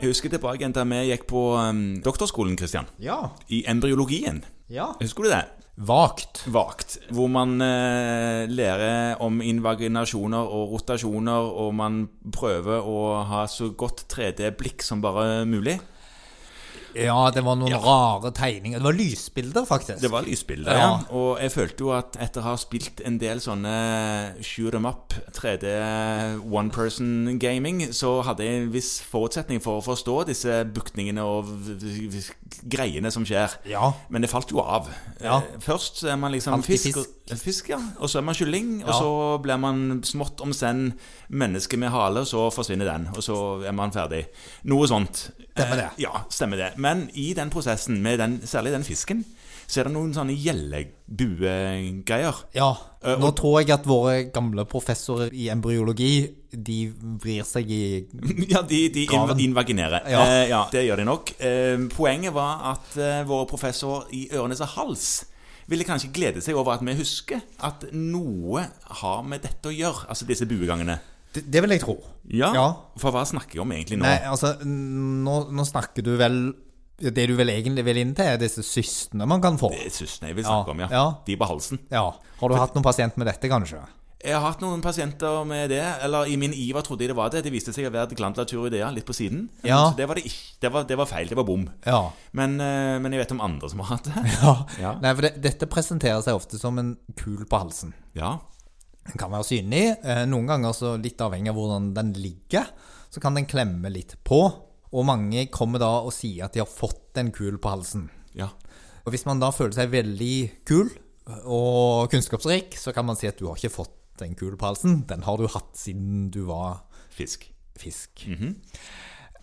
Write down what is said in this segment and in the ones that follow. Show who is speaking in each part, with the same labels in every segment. Speaker 1: Jeg husker tilbake igjen da vi gikk på um, doktorskolen, Kristian.
Speaker 2: Ja.
Speaker 1: I embryologien.
Speaker 2: Ja.
Speaker 1: Husker du det?
Speaker 3: Vagt.
Speaker 1: Vagt. Hvor man eh, lærer om invaginasjoner og rotasjoner, og man prøver å ha så godt 3D-blikk som bare mulig.
Speaker 3: Ja, det var noen rare tegninger. Det var lysbilder, faktisk.
Speaker 1: Det var lysbilder, ja.
Speaker 3: Ja.
Speaker 1: Og jeg følte jo at etter å ha spilt en del sånne shoot em up, 3D one person gaming, så hadde jeg en viss forutsetning for å forstå disse buktningene og v- v- v- greiene som skjer.
Speaker 3: Ja.
Speaker 1: Men det falt jo av.
Speaker 3: Ja.
Speaker 1: Eh, Først så er man liksom
Speaker 3: Alltid
Speaker 1: fisk, og, fisk ja. og så er man kylling, og
Speaker 3: Ja.
Speaker 1: så blir man smått om senn menneske med hale, og så forsvinner den, og så er man ferdig. Noe sånt.
Speaker 3: Stemmer det.
Speaker 1: Eh, Ja, stemmer det. Men i den prosessen, med den, særlig den fisken, så er det noen sånne gjellebuegreier.
Speaker 3: Ja.
Speaker 1: Eh, og-
Speaker 3: Nå tror jeg at våre gamle professorer i embryologi, de vrir seg i
Speaker 1: Ja, de, de inv
Speaker 3: Graven.
Speaker 1: invaginerer.
Speaker 3: Ja.
Speaker 1: Eh, ja, det gjør de nok. Eh, poenget var at eh, våre professorer i Ørenes og Hals ville kanskje glede seg over at vi husker at noe har med dette å gjøre, altså disse buegangene.
Speaker 3: Det, det vil jeg tro.
Speaker 1: Ja,
Speaker 3: Ja.
Speaker 1: For hva snakker jeg om egentlig nå?
Speaker 3: Nei, altså, nå, nå snakker du vel Det du vel egentlig vil inn til, er disse systene man kan få.
Speaker 1: Det er Søstene jeg vil snakke
Speaker 3: Ja,
Speaker 1: om, ja.
Speaker 3: ja.
Speaker 1: De på halsen.
Speaker 3: Ja. Har du hatt noen pasient med dette, kanskje?
Speaker 1: Jeg har hatt noen pasienter med det, eller i min iver trodde jeg det var det. Det viste seg å være et glandlaturidea litt på siden.
Speaker 3: Ja.
Speaker 1: Så det var, det, ikke. Det, var, det var feil, det var bom.
Speaker 3: Ja.
Speaker 1: Men, eh, men jeg vet om andre som har hatt det.
Speaker 3: ja.
Speaker 1: Ja.
Speaker 3: Nei, for det, dette presenterer seg ofte som en kul på halsen.
Speaker 1: Ja.
Speaker 3: Den kan være synlig. eh, Noen ganger, så litt avhengig av hvordan den ligger, så kan den klemme litt på. Og mange kommer da og sier at de har fått en kul på halsen.
Speaker 1: ja.
Speaker 3: Og hvis man da føler seg veldig kul og kunnskapsrik, så kan man si at du har ikke fått en kul på halsen. Den har du hatt siden du var
Speaker 1: Fisk.
Speaker 3: fisk.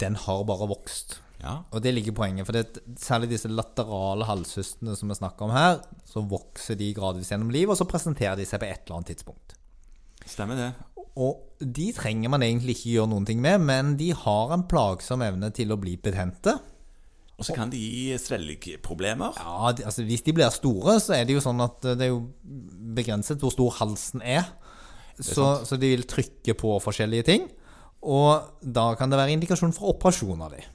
Speaker 3: Den har bare vokst.
Speaker 1: Ja.
Speaker 3: Og det ligger poenget, for det, er særlig disse laterale halshystene som vi snakker om her, så vokser de gradvis gjennom livet, og så presenterer de seg på et eller annet tidspunkt.
Speaker 1: Stemmer det.
Speaker 3: Og de trenger man egentlig ikke gjøre noen ting med, men de har en plagsom evne til å bli betente.
Speaker 1: Og så kan de gi svelgproblemer.
Speaker 3: Ja, de, altså Hvis de blir store, så er det jo sånn at eh, det er jo begrenset hvor stor halsen er. Så, så de vil trykke på forskjellige ting. Og da kan det være indikasjon for operasjon av dem.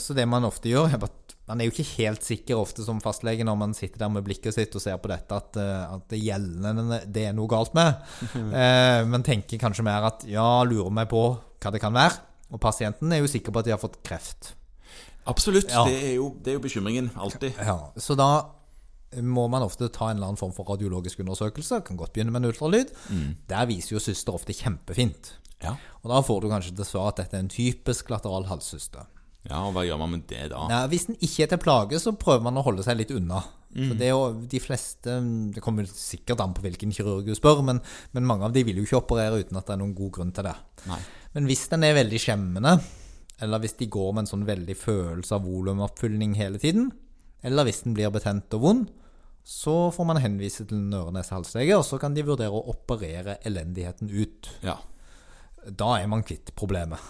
Speaker 3: Så det man ofte gjør, er at man er jo ikke helt sikker ofte som fastlege når man sitter der med blikket sitt og ser på dette, at, eh, at det gjeldende det er noe galt med. Eh, Men tenker kanskje mer at ja, lurer meg på hva det kan være. Og pasienten er jo sikker på at de har fått kreft.
Speaker 1: Absolutt.
Speaker 3: Ja.
Speaker 1: Det, er jo, det er jo bekymringen. Alltid.
Speaker 3: Ja, så da må man ofte ta en eller annen form for radiologisk undersøkelse. Kan godt begynne med en ultralyd. Der viser jo syster ofte kjempefint.
Speaker 1: Ja.
Speaker 3: Og da får du kanskje til svar at dette er en typisk lateral halssyste.
Speaker 1: ja, og hva gjør man med det da?
Speaker 3: Nei, hvis den ikke er til plage, så prøver man å holde seg litt unna. For det er jo de fleste, Det kommer sikkert an på hvilken kirurg du spør, men, men mange av de vil jo ikke operere uten at det er noen god grunn til det.
Speaker 1: Nei.
Speaker 3: Men hvis den er veldig skjemmende, eller hvis de går med en sånn veldig følelse av volumoppfyllning hele tiden, eller hvis den blir betent og vond, så får man henvise til en øre-nese-halslege, og så kan de vurdere å operere elendigheten ut.
Speaker 1: Ja.
Speaker 3: Da er man kvitt problemet.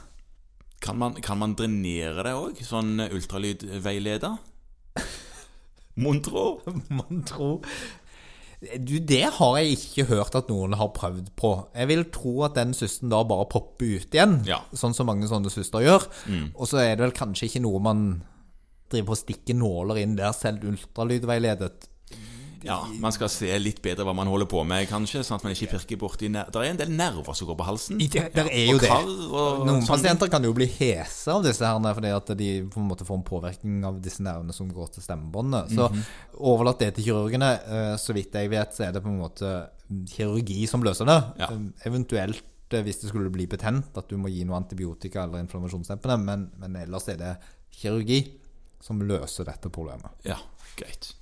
Speaker 1: Kan, man, kan man drenere det òg? Sånn ultralydveileder? Mon tro?
Speaker 3: man tro. Du, det har jeg ikke hørt at noen har prøvd på. Jeg vil tro at den systen da bare popper ut igjen,
Speaker 1: Ja.
Speaker 3: sånn som mange sånne syster gjør. Og så er det vel kanskje ikke noe man driver på å stikke nåler inn der selv ultralydveiledet.
Speaker 1: Ja, man skal se litt bedre hva man holder på med, kanskje, sånn at man ikke pirker borti ner... Der er en del nerver som går på halsen.
Speaker 3: I det- der er jo
Speaker 1: og
Speaker 3: det.
Speaker 1: Kar og
Speaker 3: Noen
Speaker 1: sånn.
Speaker 3: pasienter kan jo bli hese av disse herne, fordi at de på en måte får en påvirkning av disse nervene som går til stemmebåndet. Så
Speaker 1: Mhm.
Speaker 3: overlatt det til kirurgene. eh, Så vidt jeg vet, så er det på en måte kirurgi som løser det.
Speaker 1: Ja.
Speaker 3: Eh, Eventuelt eh, hvis det skulle bli betent, at du må gi noe antibiotika eller inflammasjonsdempende, men, men ellers er det kirurgi som løser dette problemet.
Speaker 1: Ja, greit.